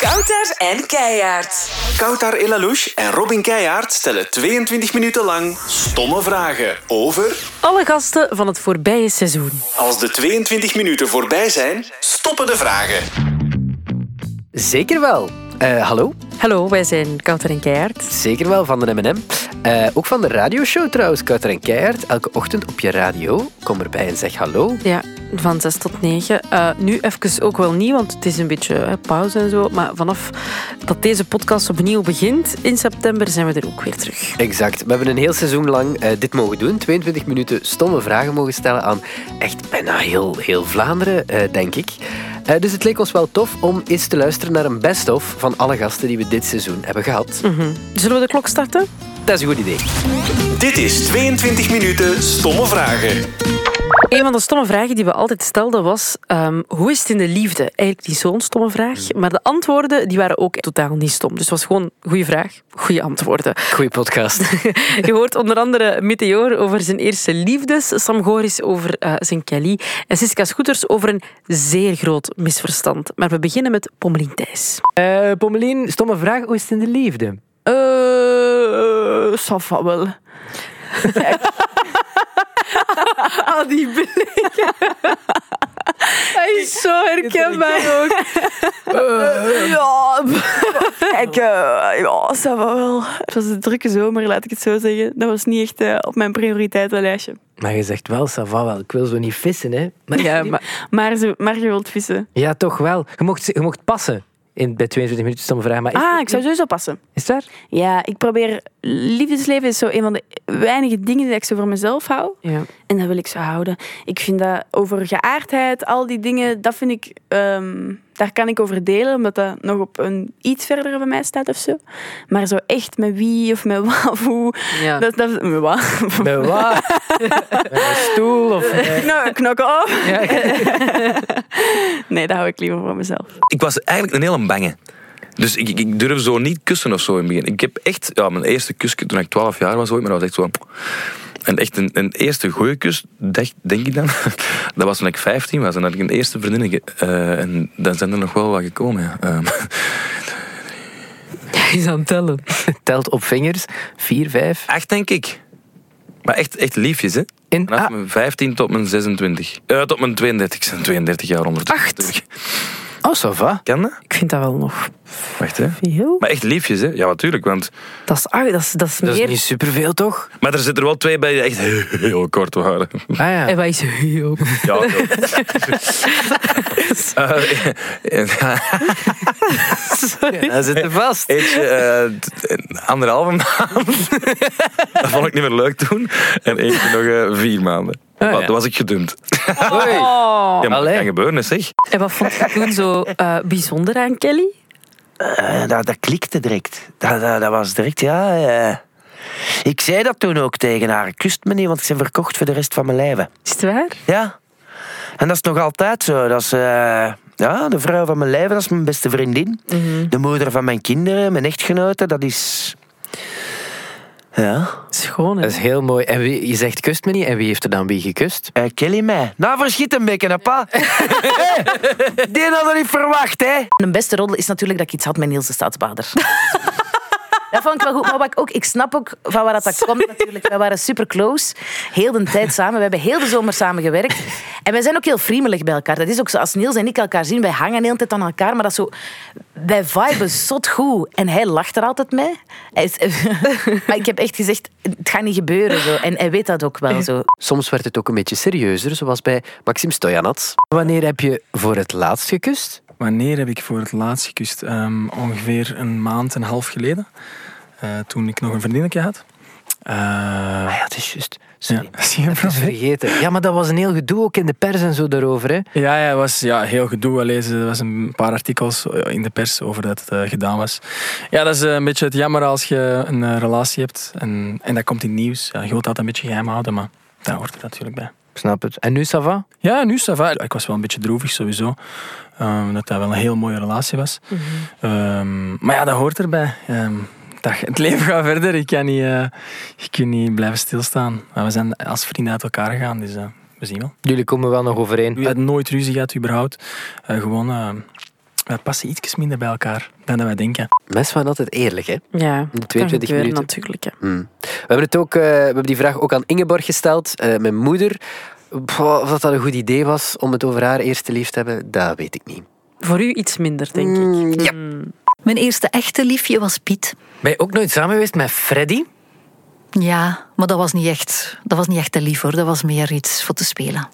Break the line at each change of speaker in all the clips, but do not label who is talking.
Kouter en Keijaard.
Koutar Elalouche en Robin Keijaard stellen 22 minuten lang stomme vragen over...
Alle gasten van het voorbije seizoen.
Als de 22 minuten voorbij zijn, stoppen de vragen.
Zeker wel. Eh, hallo?
Hallo, wij zijn Kouter en Keijaard.
Zeker wel van de M&M. Eh, ook van de radioshow trouwens, Kouter en Keihard. Elke ochtend op je radio. Kom erbij en zeg hallo.
Ja, van 6 tot 9. Eh, nu even ook wel niet, want het is een beetje hè, pauze en zo. Maar vanaf dat deze podcast opnieuw begint in september, zijn we er ook weer terug.
Exact. We hebben een heel seizoen lang eh, dit mogen doen. 22 minuten stomme vragen mogen stellen aan echt bijna heel, heel Vlaanderen, eh, denk ik. Eh, dus het leek ons wel tof om eens te luisteren naar een best-of van alle gasten die we dit seizoen hebben gehad.
Zullen we de klok starten?
Dat is een goed idee.
Dit is 22 minuten stomme vragen.
Een van de stomme vragen die we altijd stelden was: ehm, hoe is het in de liefde? Eigenlijk niet zo'n stomme vraag, maar de antwoorden die waren ook totaal niet stom. Dus het was gewoon goede vraag, goede antwoorden.
Goeie podcast.
Je hoort onder andere Meteor over zijn eerste liefdes, Sam Goris over eh, zijn Kelly en Siska Scooters over een zeer groot misverstand. Maar we beginnen met Pommelien Thijs.
Eh Pommelien, stomme vraag. Hoe is het in de liefde?
Eh, Safa wel.
Al die blikken. Hij is zo herkenbaar ook.
Eh, Ja, kijk, eh, ja, Safa wel. Het was een drukke zomer, laat ik het zo zeggen. Dat was niet echt eh, op mijn prioriteitenlijstje.
Maar je zegt wel, Sava wel. Ik wil zo niet vissen, hè? Maar,
Ja, maar
Maar, ze, maar je wilt vissen.
Ja, toch wel. Je mocht, je mocht passen in, bij 22 minuten stomme vraag. Maar is,
Ah, ik zou sowieso passen.
is het waar?
Ja, ik probeer... Liefdesleven is zo een van de weinige dingen die ik zo voor mezelf hou.
ja.
En dat wil ik zo houden. Ik vind dat over geaardheid, al die dingen, dat vind ik... ehm, daar kan ik over delen, omdat dat nog op een iets verder bij mij staat of zo. Maar zo echt met wie of met wat of hoe...
Ja.
Dat, dat, met wat?
Bij wat? Bij een stoel? Of, eh,
Nou, knokken op.
ja.
Nee, dat hou ik liever voor mezelf.
ik was eigenlijk een hele bange. Dus ik, ik, ik durf zo niet kussen of zo in het begin. Ik heb echt, ja, mijn eerste kus toen ik 12 jaar was ooit, maar dat was echt zo. En echt een, een eerste goeie kus, dacht- denk ik dan. Dat was toen ik 15 was en dat ik een eerste vriendin. ge- eh, en dan zijn er nog wel wat gekomen. Ja. Ehm,
Hij is aan het tellen.
Telt op vingers. Vier, vijf.
echt, denk ik. Maar echt, echt liefjes, hè?
In,
Vanaf
ah,
mijn 15 tot mijn 26. Eh, tot mijn 32. Ik ben 32 jaar ondertussen. Acht.
oh, Sava.
Kan dat?
Ik vind dat wel nog
Wacht, hè?
veel.
Maar echt liefjes, hè? Ja, natuurlijk. Want
Dat is, ah, dat is, dat is
Dat is
meer.
niet superveel, toch?
Maar er zitten er wel twee bij die echt heel kort waren.
Ah ja.
En wij zijn heel.
Ja, Eh, eh,
Ja, dat zit er vast.
Eentje eh, t- een anderhalve maand. Dat vond ik niet meer leuk toen. En eentje nog eh, vier maanden.
Ah,
Maar
ja.
Toen was ik gedumpt.
Hoi.
Oh.
Ja, maar dat
allee.
kan gebeuren, hè, zeg.
En wat vond je toen zo eh, bijzonder aan Kelly?
Eh, dat, dat klikte direct. Dat, dat, dat was direct, ja. eh. Ik zei dat toen ook tegen haar. Kust me niet, want ik ben verkocht voor de rest van mijn leven.
Is het waar?
Ja. En dat is nog altijd zo. Dat is, eh, ja, de vrouw van mijn leven, dat is mijn beste vriendin. De moeder van mijn kinderen, mijn echtgenote, dat is... Ja,
Schoon.
Dat
hè?
is heel mooi. En wie, je zegt kust me niet. En wie heeft er dan wie gekust?
eh, Kelly mij. Nou, verschiet een beetje, hè, pa. Hé, die hadden we niet verwacht, hè.
Mijn beste roddel is natuurlijk dat ik iets had met Niels de Staatsbaarder. Dat vond ik wel goed. Maar wat ik, ook, ik snap ook van waar dat, dat komt natuurlijk. Wij waren super close. Heel de tijd samen. We hebben heel de zomer samen gewerkt. En wij zijn ook heel vriendelijk bij elkaar. Dat is ook zo. Als Niels en ik elkaar zien, wij hangen de hele tijd aan elkaar. Maar dat is zo... Wij viben zot goed. En hij lacht er altijd mee. Hij is, maar ik heb echt gezegd, het gaat niet gebeuren. Zo. En hij weet dat ook wel zo.
Soms werd het ook een beetje serieuzer, zoals bij Maxim Stojanats. Wanneer heb je voor het laatst gekust?
Wanneer heb ik voor het laatst gekust? Ehm, ongeveer een maand en een half geleden. Eh, toen ik nog een vriendinnetje had. Eh,
Ja, het is juist.
ja,
Sorry.
dat is geen
Ik was
probleem.
vergeten. Ja, maar dat was een heel gedoe ook in de pers en zo daarover. Hè?
Ja, ja, het was ja, heel gedoe. Allee, ze- Er was een paar artikels eh, in de pers over dat het eh, gedaan was. Ja, dat is eh, een beetje het jammer als je een eh, relatie hebt. En, en dat komt in het nieuws. Ja, je wilt dat een beetje geheim houden, maar daar hoort er natuurlijk bij.
Ik snap het. En nu, Sava?
Ja, nu Sava. Ik was wel een beetje droevig sowieso. Ehm, dat dat wel een heel mooie relatie was. Ehm, maar ja, dat hoort erbij. Ehm, dat, het leven gaat verder. Je kan niet, eh, je kunt niet blijven stilstaan. Maar we zijn als vrienden uit elkaar gegaan, dus eh, we zien wel.
Jullie komen wel nog overeen.
Je had nooit ruzie gehad, überhaupt. Eh, gewoon eh, Wij passen iets minder bij elkaar dan dat wij denken.
Mensen waren altijd eerlijk, hè?
Ja,
De
kan
22
gebeuren
minuten.
natuurlijk. hè.
Hmm. We, hebben het ook, eh, we hebben die vraag ook aan Ingeborg gesteld, eh, mijn moeder. Pff, of dat, dat een goed idee was om het over haar eerste lief te hebben, dat weet ik niet.
Voor u iets minder, denk ik.
ja.
Mm.
Mijn eerste echte liefje was Piet.
Ben je ook nooit samen geweest met Freddy?
Ja, maar dat was niet echt, dat was niet echt een lief hoor. Dat was meer iets voor te spelen.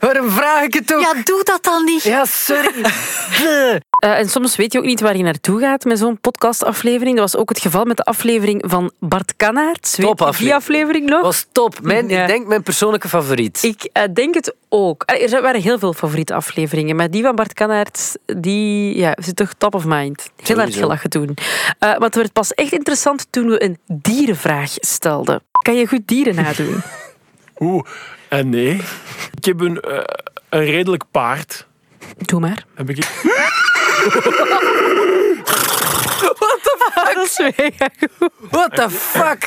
Waarom vraag ik het ook?
Ja, doe dat dan niet.
Ja, sorry. Bleh.
Eh, en soms weet je ook niet waar je naartoe gaat met zo'n podcastaflevering. Dat was ook het geval met de aflevering van Bart Kannaerts. Weet je
Topaflevering.
Die aflevering nog?
was top. Mijn,
Ja.
Ik denk mijn persoonlijke favoriet.
Ik eh, denk het ook. Eh, Er waren heel veel favoriete afleveringen, maar die van Bart Kannaerts, die ja, zit toch top of mind. Heel hard
Sowieso.
gelachen toen. Eh, want het werd pas echt interessant toen we een dierenvraag stelden. Kan je goed dieren nadoen?
Oeh, en Eh, nee. Ik heb een, eh, een redelijk paard.
Doe maar.
Heb ik...
Dat is mega goed.
What the fuck?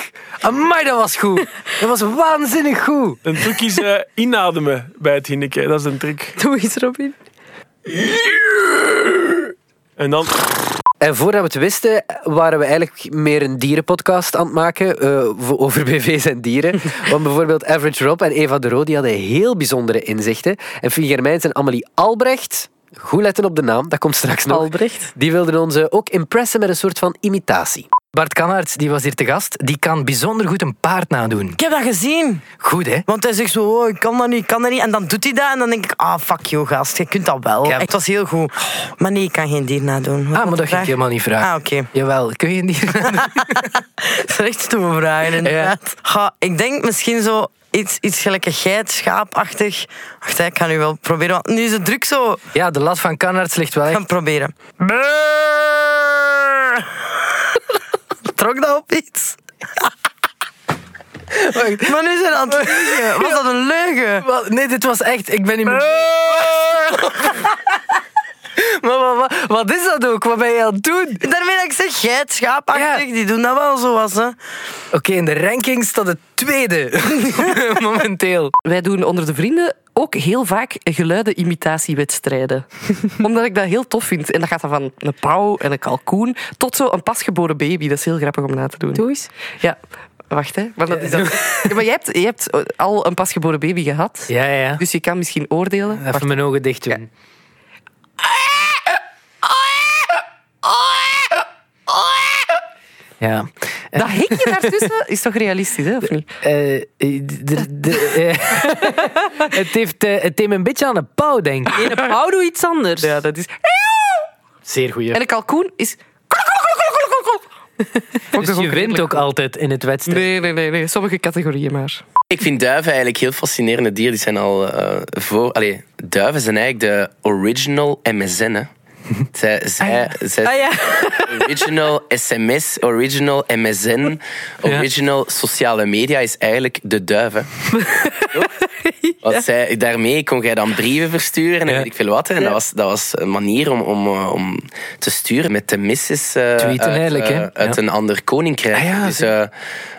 Amai, dat was goed. Dat was waanzinnig goed.
Een truc is eh, inademen bij het hinneken. Dat is een truc.
Doe iets, Robin.
En dan...
En voordat we het wisten, waren we eigenlijk meer een dierenpodcast aan het maken eh, voor- over BV's en dieren. Want bijvoorbeeld Average Rob en Eva de Roo die hadden heel bijzondere inzichten. En Fien Germijns en Amelie Albrecht, goed letten op de naam, dat komt straks nog.
Albrecht.
Die wilden ons eh, ook impressen met een soort van imitatie.
Bart Kannaerts, die was hier te gast, die kan bijzonder goed een paard nadoen.
Ik heb dat gezien.
Goed, hè?
Want hij zegt zo, oh, ik kan dat niet, ik kan dat niet. En dan doet hij dat en dan denk ik, ah, fuck joh, gast, je kunt dat wel.
Ja,
Echt, het was heel goed. Maar nee, ik kan geen dier nadoen. Wat
Ah, maar
was de
dat ging
vraag?
ik helemaal niet vragen.
Ah, oké.
Jawel, kun je niet?
Dat zijn echt stomme vragen, inderdaad. Ga, ik denk misschien zo iets, iets gelijk een geit, schaapachtig. Wacht, hè, ik ga nu wel proberen, want nu is het druk zo. Ik
Ja, de lat van Kannaerts ligt wel
ga
echt...
het proberen. Brrr. Trok dat op iets? Maar nu zijn we aan het liegen. Was dat een leugen?
Wel, Nee, dit was echt... Ik ben in mijn... Maar wat, wat, wat is dat ook? Wat ben je aan het doen?
Daarmee dat ik zeg geit, schaapachtig,
Ja.
die doen dat wel zo was. Hè.
Oké, in de ranking staat het tweede. Momenteel.
Wij doen onder de vrienden ook heel vaak geluiden-imitatiewedstrijden. Omdat ik dat heel tof vind. En dat gaat dan van een pauw en een kalkoen tot zo een pasgeboren baby. Dat is heel grappig om na te doen.
Doe eens.
Ja, wacht hè. Want dat is dan... Ja, maar jij hebt, jij hebt al een pasgeboren baby gehad.
Ja, ja, ja.
Dus je kan misschien oordelen.
Even mijn ogen dicht doen. Ja.
Dat hikje daartussen is toch realistisch, hè? Of niet?
Eh, d- d- eh, het, heeft, eh, het deed me een beetje aan een pauw, denk ik.
In een pauw doe iets anders.
Ja, dat is...
Zeer goeie.
En een kalkoen is... Vond
Dus
ik toch
je wint
redelijk
ook
goed.
altijd in het wedstrijd.
Nee, nee, nee, nee. Sommige categorieën maar.
Ik vind duiven eigenlijk heel fascinerende dieren. Die zijn al eh, voor. Allee, duiven zijn eigenlijk de original MSN. Hè. Zij, zij, zij
Ah ja,
Original SMS, original MSN, original sociale media is eigenlijk de duiven. Toch? Want zij, daarmee kon jij dan brieven versturen en weet ik veel wat. hè. En dat, was, dat was een manier om, om, eh, om te sturen met de misses eh, uit,
Tweeten eigenlijk,
eh,
hè?
uit
Ja.
een ander koninkrijk.
Ah ja,
dus eh,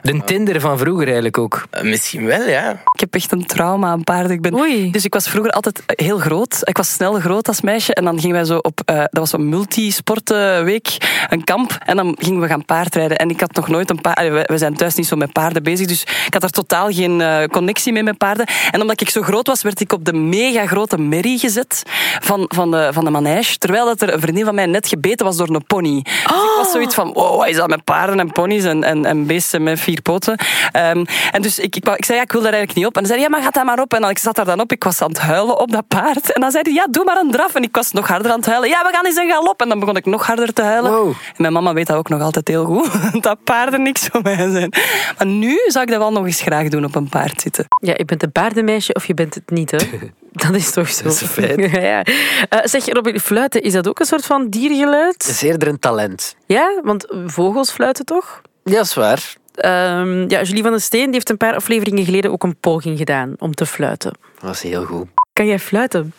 De Tinder van vroeger eigenlijk ook.
eh, misschien wel, ja.
Ik heb echt een trauma aan paarden. Ik ben,
Oei.
Dus ik was vroeger altijd heel groot. Ik was snel groot als meisje. En dan gingen wij zo op, eh, dat was zo'n multisportenweek, een kamp. En dan gingen we gaan paardrijden. En ik had nog nooit een paard. We zijn thuis niet zo met paarden bezig. Dus ik had daar totaal geen eh, connectie mee met paarden. En omdat ik zo groot was, werd ik op de mega grote merrie gezet van, van, de, van de manege. Terwijl dat er een vriendin van mij net gebeten was door een pony. Dus ik was zoiets van, wow, wat is dat met paarden en ponies en, en, en beesten met vier poten. Ehm, en dus ik, ik, wou- ik zei, ja, ik wil daar eigenlijk niet op. En hij zei, ja, maar gaat daar maar op. En dan, ik zat daar dan op, ik was aan het huilen op dat paard. En dan zei hij, ja, doe maar een draf. En ik was nog harder aan het huilen. Ja, we gaan eens een galop. En dan begon ik nog harder te huilen.
Wow.
En mijn mama weet dat ook nog altijd heel goed. dat paarden niks voor mij zijn. Maar nu zou ik dat wel nog eens graag doen, op een paard zitten.
Ja, je bent een paardenmeisje of je bent het niet, hè? Dat is toch zo. Dat
is een feit.
Ja, ja. Eh, zeg, Robin, fluiten, is dat ook een soort van
Dat
diergeluid?
is eerder een talent.
Ja, want vogels fluiten toch?
Ja, dat is waar.
Ehm, ja, Julie van den Steen die heeft een paar afleveringen geleden ook een poging gedaan om te fluiten.
Dat was heel goed.
Kan jij fluiten?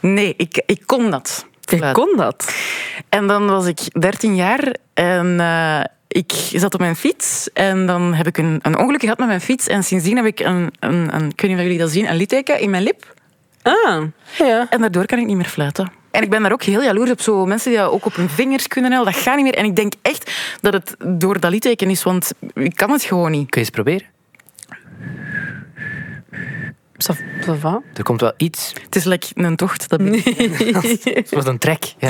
Nee, ik, ik kon dat.
Ik kon dat.
En dan was ik 13 jaar en eh, ik zat op mijn fiets. En dan heb ik een, een ongeluk gehad met mijn fiets. En sindsdien heb ik een, een, een ik weet niet of jullie dat zien, een litteken in mijn lip.
Ah.
Ja.
En daardoor kan ik niet meer fluiten.
En ik ben daar ook heel jaloers op. Zo mensen die dat ook op hun vingers kunnen halen, dat gaat niet meer. En ik denk echt dat het door dat liedteken is, want ik kan het gewoon niet.
Kun je eens proberen? Er komt wel iets.
Het is lekker een tocht, dat ben ik.
Het was een trek. Ja.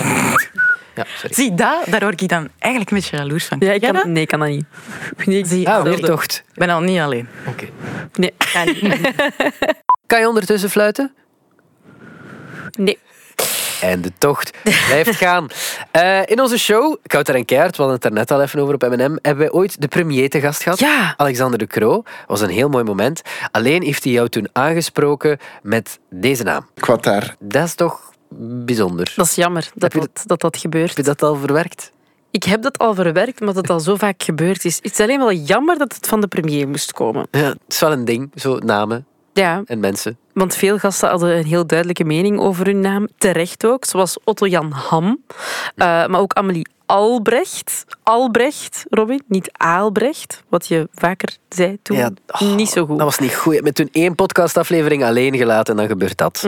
Ja, sorry.
Zie, dat, daar word ik dan eigenlijk een beetje jaloers van.
Ja, ik kan, nee, ik kan dat niet. Nee, ik
Zie,
Ah,
hetzelfde.
weer tocht.
Ik ben al niet alleen.
Oké.
Nee.
Kan je ondertussen fluiten?
Nee.
En de tocht blijft gaan. Eh, in onze show, Kouter en Keert, we hadden het daar net al even over op M&M, hebben wij ooit de premier te gast gehad.
Ja.
Alexander de Croo. was een heel mooi moment. Alleen heeft hij jou toen aangesproken met deze naam.
Quatar.
Dat is toch bijzonder.
Dat is jammer dat dat, dat, dat gebeurt. Heb je
dat al verwerkt?
Ik heb dat al verwerkt, omdat het al zo vaak gebeurd is. Het is alleen wel jammer dat het van de premier moest komen.
Ja, het is wel een ding, zo namen
Ja,
en mensen.
want veel gasten hadden een heel duidelijke mening over hun naam. Terecht ook, zoals Otto-Jan Ham. Eh, maar ook Amelie Albrecht. Albrecht, Robin, niet Aalbrecht. Wat je vaker zei toen.
Ja, oh,
niet zo goed.
Dat was niet goed. Je hebt me toen één podcastaflevering alleen gelaten en dan
Mm.
gebeurt dat.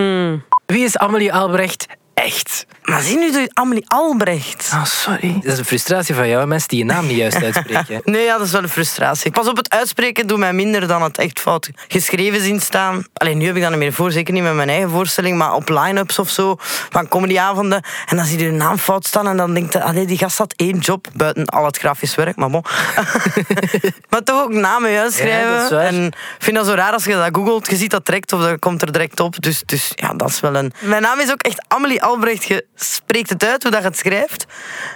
Wie is Amelie Albrecht echt?
Maar zie nu de Amelie Albrecht. Ah, sorry.
Dat is een frustratie van jou, hè, mensen die je naam niet juist uitspreken.
nee, ja, dat is wel een frustratie. Pas op, het uitspreken doet mij minder dan het echt fout geschreven zien staan. Alleen nu heb ik dat niet meer voor, zeker niet met mijn eigen voorstelling, maar op line-ups of zo, van comedyavonden. En dan zie je de naam fout staan en dan denkt je, allee, die gast had één job, buiten al het grafisch werk, maar bon. maar toch ook namen juist
Ja, dat is
schrijven.
waar.
en ik vind dat zo raar als je dat googelt, je ziet dat direct of dat komt er direct op. Dus, dus ja, dat is wel een... Mijn naam is ook echt Amelie Albrecht. Je spreekt het uit hoe dat je het schrijft.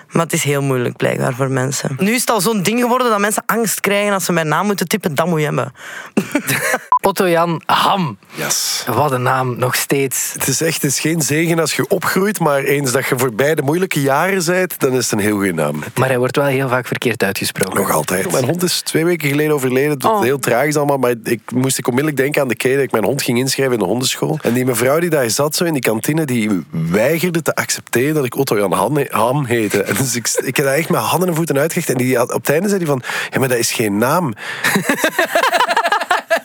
Maar het is heel moeilijk blijkbaar voor mensen. Nu is het al zo'n ding geworden dat mensen angst krijgen als ze mijn naam moeten typen. Dat moet je hebben.
Otto-Jan Ham.
Yes.
Wat een naam, nog steeds.
Het is echt het is geen zegen als je opgroeit, maar eens dat je voorbij de moeilijke jaren bent, dan is het een heel goede naam.
Maar hij wordt wel heel vaak verkeerd uitgesproken.
Nog altijd. Mijn hond is twee weken geleden overleden. Dat
Oh.
heel tragisch allemaal. Maar ik moest ik onmiddellijk denken aan de keer dat ik mijn hond ging inschrijven in de hondenschool. En die mevrouw die daar zat zo in die kantine, die weigerde te accepteren dat ik Otto-Jan Han- Ham heette. En dus ik, ik heb daar echt met handen en voeten uitgelegd. En die had, op het einde zei die van, ja, maar dat is geen naam.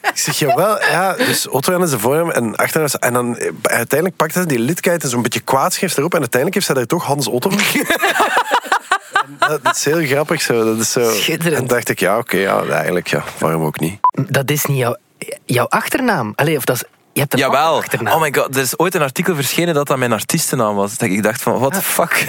Ik zeg, jawel, ja, dus Otto-Jan is de voornaam en achternaam is... En dan eh, uiteindelijk pakt hij die lidkijt en zo'n beetje kwaadschrift erop en uiteindelijk heeft zij daar toch Hans Otto van. En Dat dat is heel grappig zo. Dat is zo.
Schitterend.
En dacht ik, ja, oké, ja, eigenlijk, ja, waarom ook niet?
Dat is niet jouw, jouw achternaam. Allee, of dat is, je hebt een
Jawel.
achternaam.
Oh my god, er is ooit een artikel verschenen dat dat mijn artiestennaam was. Dat ik dacht van, what the fuck?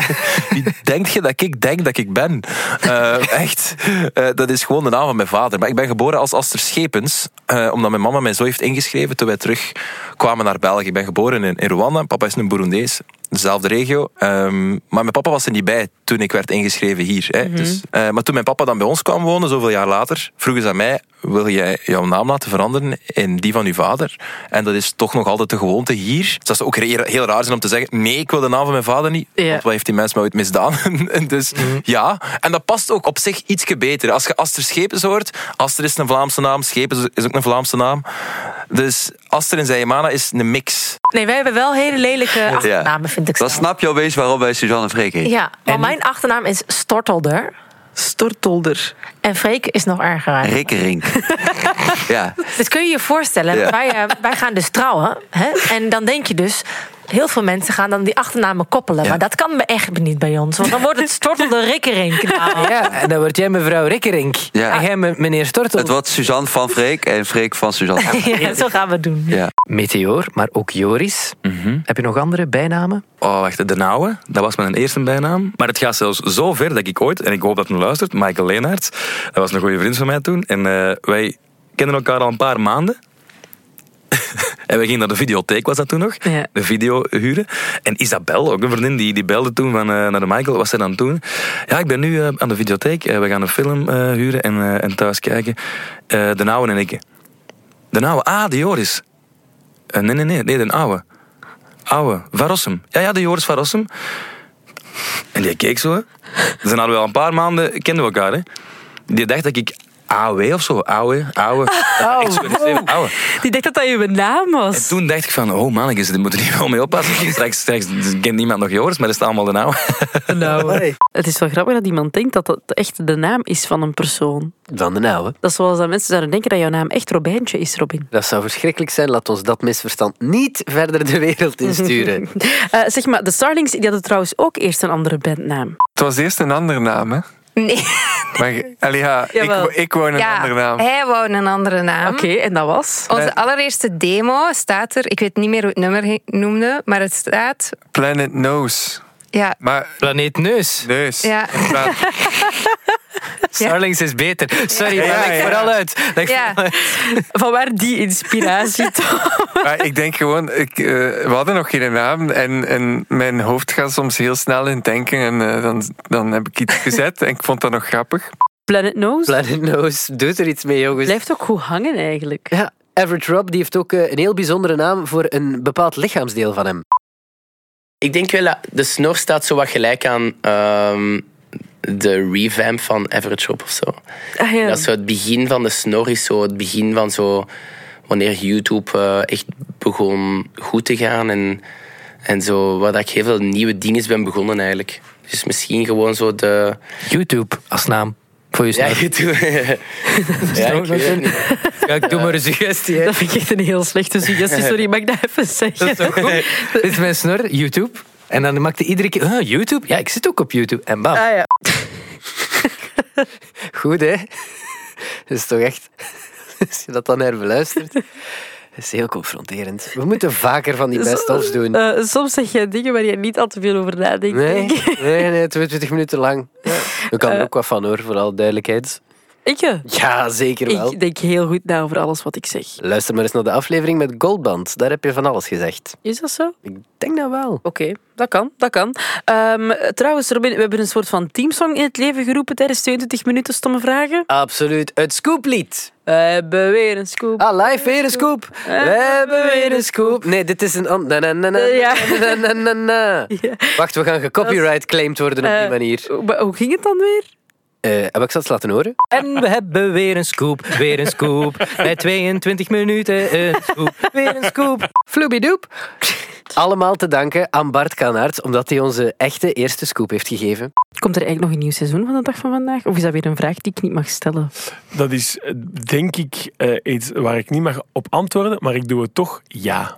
Wie denkt je dat ik denk dat ik ben? Eh, echt. Eh, dat is gewoon de naam van mijn vader. Maar ik ben geboren als Aster Schepens. eh, omdat mijn mama mij zo heeft ingeschreven toen wij terug kwamen naar België. Ik ben geboren in, in Rwanda. Papa is een Burundees. Dezelfde regio. Ehm, maar mijn papa was er niet bij toen ik werd ingeschreven hier. Hè.
Mhm.
dus, eh, maar toen mijn papa dan bij ons kwam wonen, zoveel jaar later, vroegen ze aan mij: Wil jij jouw naam laten veranderen in die van uw vader? En dat is toch nog altijd de gewoonte hier. Dus dat zou ook re- heel raar zijn om te zeggen: Nee, ik wil de naam van mijn vader niet.
Ja.
Want wat heeft die mens mij ooit misdaan? En dus ja, en dat past ook op zich iets beter. Als je Aster Schepens hoort, Aster is een Vlaamse naam, Schepens is ook een Vlaamse naam. Dus Aster en Zijemana is een mix.
Nee, wij hebben wel hele lelijke achternamen, vind ik
Dan
zelf.
snap je opeens waarom wij Suzanne Freek heet.
Ja, maar mijn achternaam is Stortelder.
Stortelder.
En Freek is nog erger. eigenlijk.
Rikkerink. ja.
Dus kun je je voorstellen,
Ja.
wij, eh, wij gaan dus trouwen. Hè? En dan denk je dus, heel veel mensen gaan dan die achternamen koppelen. Maar dat kan me echt niet bij ons. Want dan wordt het Stortelder Rikkerink. Nou.
Ja, en dan word jij mevrouw Rikkerink.
Ja.
En jij me- meneer Stortel.
Het wordt Suzanne van Freek en Freek van Suzanne.
Ja, zo gaan we het doen.
Ja.
Meteor, maar ook Joris.
Mhm.
Heb je nog andere bijnamen?
Oh, wacht, de Nauwe. Dat was mijn eerste bijnaam. Maar het gaat zelfs zo ver dat ik ooit, en ik hoop dat men luistert, Michael Leenaerts, dat was een goede vriend van mij toen. En eh, wij kenden elkaar al een paar maanden. En we gingen naar de videotheek, was dat toen nog? De video huren. En Isabel, ook een vriendin, die, die belde toen van, eh, naar de Michael. Wat was zij dan toen? Ja, ik ben nu eh, aan de videotheek. Eh, we gaan een film eh, huren en, eh, en thuis kijken. Eh, de Nauwe en ik. De Nauwe. Ah, de Joris. Eh, nee, nee, nee. Nee, de Ouwe. Ouwe. Van Rossum. Ja, ja, de Joris Van Rossum. En die keek zo. hè. Dus dan hadden we al een paar maanden... Kenden we elkaar, hè. Die dacht dat ik AW of zo. Auwe, auwe.
Oh,
Echt zo
wow.
aggressief, auwe.
Die dacht dat dat je naam was.
En toen dacht ik van, oh mannetjes, dit moeten hier wel mee oppassen. Straks, straks kent niemand nog Joris, maar dat is allemaal de oude.
Nou, het is wel grappig dat iemand denkt dat dat echt de naam is van een persoon.
Van de nauwe.
Dat is zoals dat mensen zouden denken dat jouw naam echt Robijntje is, Robin.
Dat zou verschrikkelijk zijn. Laat ons dat misverstand niet verder de wereld insturen.
Eh, zeg maar, de Starlings die hadden trouwens ook eerst een andere bandnaam.
Het was eerst een andere naam, hè?
Nee.
Maar allee, ja, ik,
Jawel.
wo- ik woon een
ja,
andere naam.
Hij wou een andere naam.
Oké, en dat was?
Onze
Nee.
allereerste demo staat er. Ik weet niet meer hoe het nummer he- noemde, maar het staat.
Planet Nose.
Ja.
Maar,
Planeet Neus.
Neus.
Ja.
inderdaad.
Starlings is beter. Sorry, maar leg vooral uit. Leg
Ja.
vooral uit.
Van waar die inspiratie toch?
Maar ik denk gewoon, ik, eh, we hadden nog geen naam en, en mijn hoofd gaat soms heel snel in het denken en eh, dan, dan heb ik iets gezet en ik vond dat nog grappig.
Planet Nose.
Planet Nose doet er iets mee, jongens.
Blijft ook goed hangen eigenlijk.
Ja, Average Rob die heeft ook eh, een heel bijzondere naam voor een bepaald lichaamsdeel van hem.
Ik denk wel dat de snor staat zo wat gelijk aan ehm, de revamp van Average Rob of zo.
Ah, ja.
Dat zo het begin van de snor is zo het begin van zo wanneer YouTube eh, echt begon goed te gaan en, en zo waar dat ik heel veel nieuwe dingen ben begonnen eigenlijk. Dus misschien gewoon zo de...
YouTube als naam voor je
Ja,
snor.
YouTube. ja, ik weet het niet.
Ja, ik doe maar een suggestie. hè.
Dat vind ik echt een heel slechte suggestie. Sorry, mag ik dat even zeggen?
Dat is toch goed? Dit is mijn snor, YouTube. En dan maakte iedere keer, "Huh, YouTube? Ja, ik zit ook op YouTube. En bam.
Ah, ja.
Goed, hè? Dat is toch echt... Als je dat dan herbeluistert... Dat is heel confronterend. We moeten vaker van die best-ofs doen.
Eh, soms zeg je dingen waar je niet al te veel over nadenkt.
Nee,
denk ik. Eh.
nee, nee, 22 minuten lang. Ja. We kan er ook wat van hoor, voor alle duidelijkheid.
Ik je?
Ja, zeker wel.
Ik denk heel goed na over alles wat ik zeg.
Luister maar eens naar de aflevering met Goldband. Daar heb je van alles gezegd.
Is dat zo? Ik
denk dat wel. Oké,
dat kan, dat kan. Ehm, trouwens, Robin, we hebben een soort van teamsong in het leven geroepen tijdens 22 minuten stomme vragen.
Absoluut. Het scooplied.
We hebben weer een scoop.
Ah, live weer een scoop. We hebben weer een scoop. Nee, dit is een... an- Na, na, na, na,
Ja.
na, na, na, na. Wacht, we gaan gecopyright claimed worden op die
Eh,
manier.
Hoe ging het dan weer?
Eh, heb ik ze laten horen?
En we hebben weer een scoop, weer een scoop. Bij 22 minuten een scoop, weer een scoop.
Floebidoep. Allemaal te danken aan Bart Kanaerts, omdat hij onze echte eerste scoop heeft gegeven.
Komt er eigenlijk nog een nieuw seizoen van de dag van vandaag? Of is dat weer een vraag die ik niet mag stellen?
Dat is eh, denk ik eh, iets waar ik niet mag op antwoorden, maar ik doe het toch ja.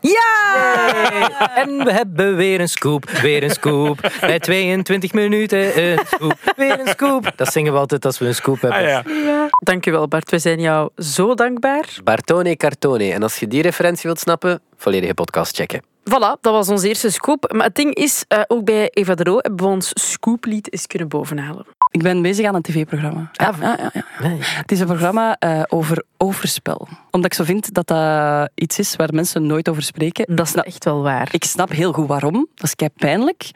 Ja! En we hebben weer een scoop, weer een scoop. Bij 22 minuten een scoop, weer een scoop. Dat zingen we altijd als we een scoop hebben.
Dankjewel, Bart. We zijn jou zo dankbaar.
Bartone Cartone. En als je die referentie wilt snappen, volledige podcast checken.
Voilà, dat was onze eerste scoop. Maar het ding is, eh, ook bij Eva de Roo hebben we ons scooplied eens kunnen bovenhalen.
Ik ben bezig aan een tv-programma. Ah, Ja, ja, ja, ja. Het is een programma eh, over overspel. Omdat ik zo vind dat dat iets is waar mensen nooit over spreken.
Dat is echt wel waar.
Ik snap heel goed waarom. Dat is kei pijnlijk.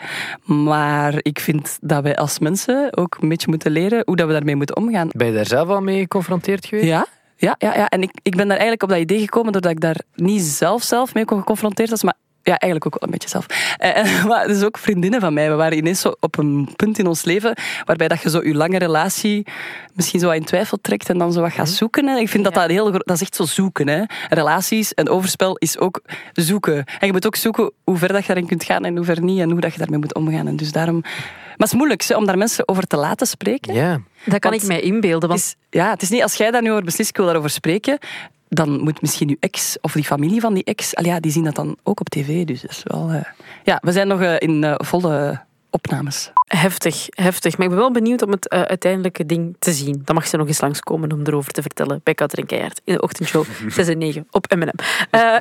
Maar ik vind dat wij als mensen ook een beetje moeten leren hoe dat we daarmee moeten omgaan.
Ben je daar zelf al mee geconfronteerd geweest?
Ja, ja, ja. ja. En ik, ik ben daar eigenlijk op dat idee gekomen doordat ik daar niet zelf zelf mee geconfronteerd was, maar ja, eigenlijk ook wel een beetje zelf. Eh, eh, maar dus ook vriendinnen van mij. We waren ineens zo op een punt in ons leven waarbij dat je zo je lange relatie misschien zo wat in twijfel trekt en dan zo wat gaat
Mhm.
zoeken. hè. Ik vind dat dat heel... gro- Dat is echt zo zoeken, hè. Relaties en overspel is ook zoeken. En je moet ook zoeken hoe ver dat je daarin kunt gaan en hoe ver niet en hoe dat je daarmee moet omgaan. En dus daarom... Maar het is moeilijk hè, om daar mensen over te laten spreken.
Ja.
Dat kan ik mij inbeelden. Want...
Het is, ja, het is niet als jij daar nu over beslist, ik wil daarover spreken. Dan moet misschien uw ex of die familie van die ex, al ja, die zien dat dan ook op tv. Dus dat is wel. eh, Ja, we zijn nog eh, in eh, volle opnames.
Heftig, heftig. Maar ik ben wel benieuwd om het eh, uiteindelijke ding te zien. Dan mag ze nog eens langskomen om erover te vertellen bij Katrin Keijert in de ochtendshow 6 en 9 op M&M. Eh,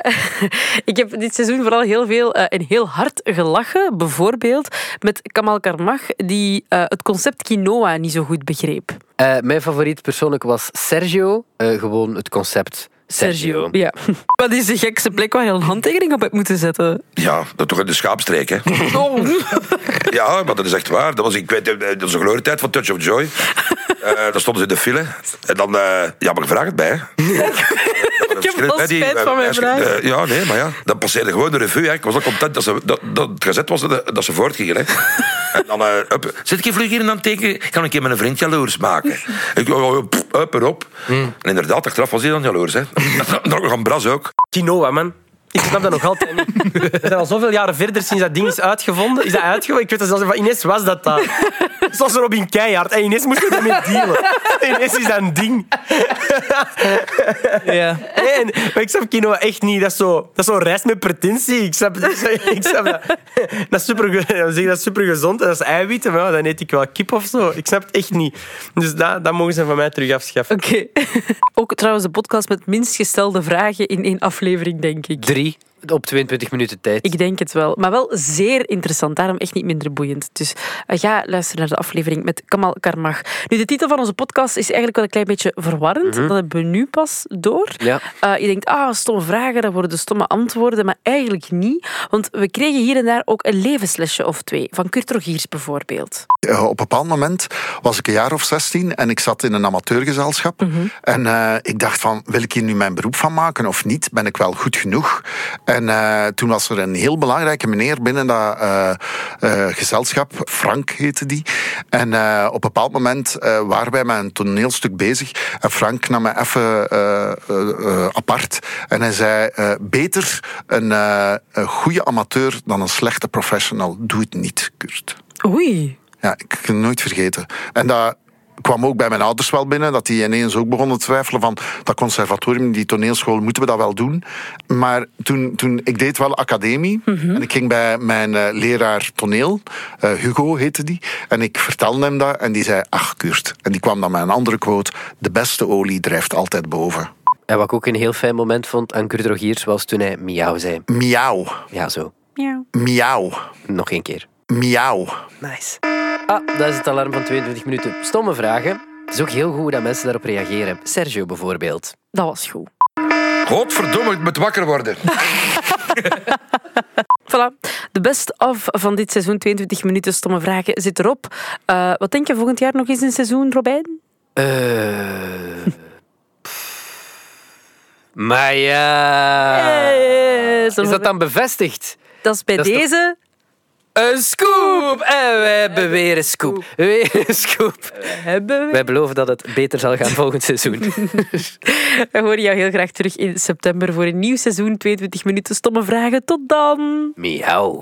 ik heb dit seizoen vooral heel veel eh, en heel hard gelachen. Bijvoorbeeld met Kamal Karmach, die eh, het concept quinoa niet zo goed begreep.
Eh, mijn favoriet persoonlijk was Sergio. Eh, gewoon het concept Sergio.
Ja. Wat is de gekste plek waar je een handtekening op hebt moeten zetten?
Ja, dat toch in de schaapstreek, hè?
Oh.
Ja, maar dat is echt waar. Dat was, ik weet, eh, dat is een glorietijd van Touch of Joy. Eh daar stonden ze in de file. En dan, eh, ja, maar vraag het bij, hè.
Ik heb wel
Hè, die-
spijt van mijn
eh,
vraag.
eh, ja, nee, maar ja. Dat passeerde gewoon de revue. Hè. Ik was ook content dat, ze, dat, dat het gezet was dat, dat ze voortgingen. Hè. En dan, eh, hup, zet ik je vlug hier en dan teken, kan ik je met een vriend jaloers maken. Ik, oh, oh, pff, hup, erop.
Hmm.
En inderdaad, achteraf was hij dan jaloers. Hè. Dan nog een bras ook.
Quinoa, man. Ik snap dat nog altijd niet. We zijn al zoveel jaren verder sinds dat ding is uitgevonden. Is dat uitgevonden? Ik weet dat zelfs niet van Ines was dat daar. Zoals Robin Keijhard. En Ines moest daarmee dealen. Ines is dat een ding. Ja. En, maar ik snap quinoa echt niet. Dat is zo, dat is zo rijst met pretentie. Ik snap, ik snap dat. Dat is, super, zeg, dat is supergezond en dat is eiwitten. Maar ja, dan eet ik wel kip of zo. Ik snap het echt niet. Dus dat, dat mogen ze van mij terug afschaffen.
Oké. Ook trouwens de podcast met minst gestelde vragen in één aflevering, denk ik.
Drie op 22 minuten tijd.
Ik denk het wel. Maar wel zeer interessant, daarom echt niet minder boeiend. Dus eh, ga luisteren naar de aflevering met Kamal Karmach. Nu, de titel van onze podcast is eigenlijk wel een klein beetje verwarrend.
Mhm.
Dat hebben we nu pas door.
Ja.
Eh, je denkt, ah, stomme vragen, dat worden stomme antwoorden. Maar eigenlijk niet. Want we kregen hier en daar ook een levenslesje of twee. Van Kurt Rogiers bijvoorbeeld.
Eh, op een bepaald moment was ik een jaar of 16 en ik zat in een amateurgezelschap. En eh, ik dacht van, wil ik hier nu mijn beroep van maken of niet? Ben ik wel goed genoeg? En eh, toen was er een heel belangrijke meneer binnen dat eh, eh, gezelschap, Frank heette die. En eh, op een bepaald moment eh, waren wij met een toneelstuk bezig. En Frank nam me even eh, eh, eh, apart en hij zei, eh, beter een, eh, een goede amateur dan een slechte professional. Doe het niet, Kurt.
Oei.
Ja, ik kan het nooit vergeten. En dat kwam ook bij mijn ouders wel binnen, dat die ineens ook begonnen te twijfelen van dat conservatorium, die toneelschool, moeten we dat wel doen? Maar toen, toen ik deed wel academie en ik ging bij mijn eh, leraar toneel, eh, Hugo heette die, en ik vertelde hem dat en die zei, ach Kurt. En die kwam dan met een andere quote, de beste olie drijft altijd boven.
En wat ik ook een heel fijn moment vond aan Kurt Rogiers was toen hij miauw zei.
Miauw.
Ja, zo.
Miauw.
Miauw.
Nog één keer.
Miauw.
Nice. Ah, dat is het alarm van 22 minuten. Stomme vragen. Het is ook heel goed hoe dat mensen daarop reageren. Sergio bijvoorbeeld.
Dat was goed.
Godverdomme, ik moet wakker worden.
Voilà, de best of van dit seizoen 22 minuten stomme vragen zit erop. Eh, wat denk je volgend jaar nog eens een seizoen, Robijn?
Eh. maar ja.
Yes,
is dat dan bevestigd?
Dat is bij
Dat is toch-
deze.
Een scoop! En we hebben weer een scoop. Weer een scoop.
hebben
Wij beloven dat het beter zal gaan volgend seizoen.
We horen jou heel graag terug in september voor een nieuw seizoen 22 minuten stomme vragen. Tot dan!
Miauw.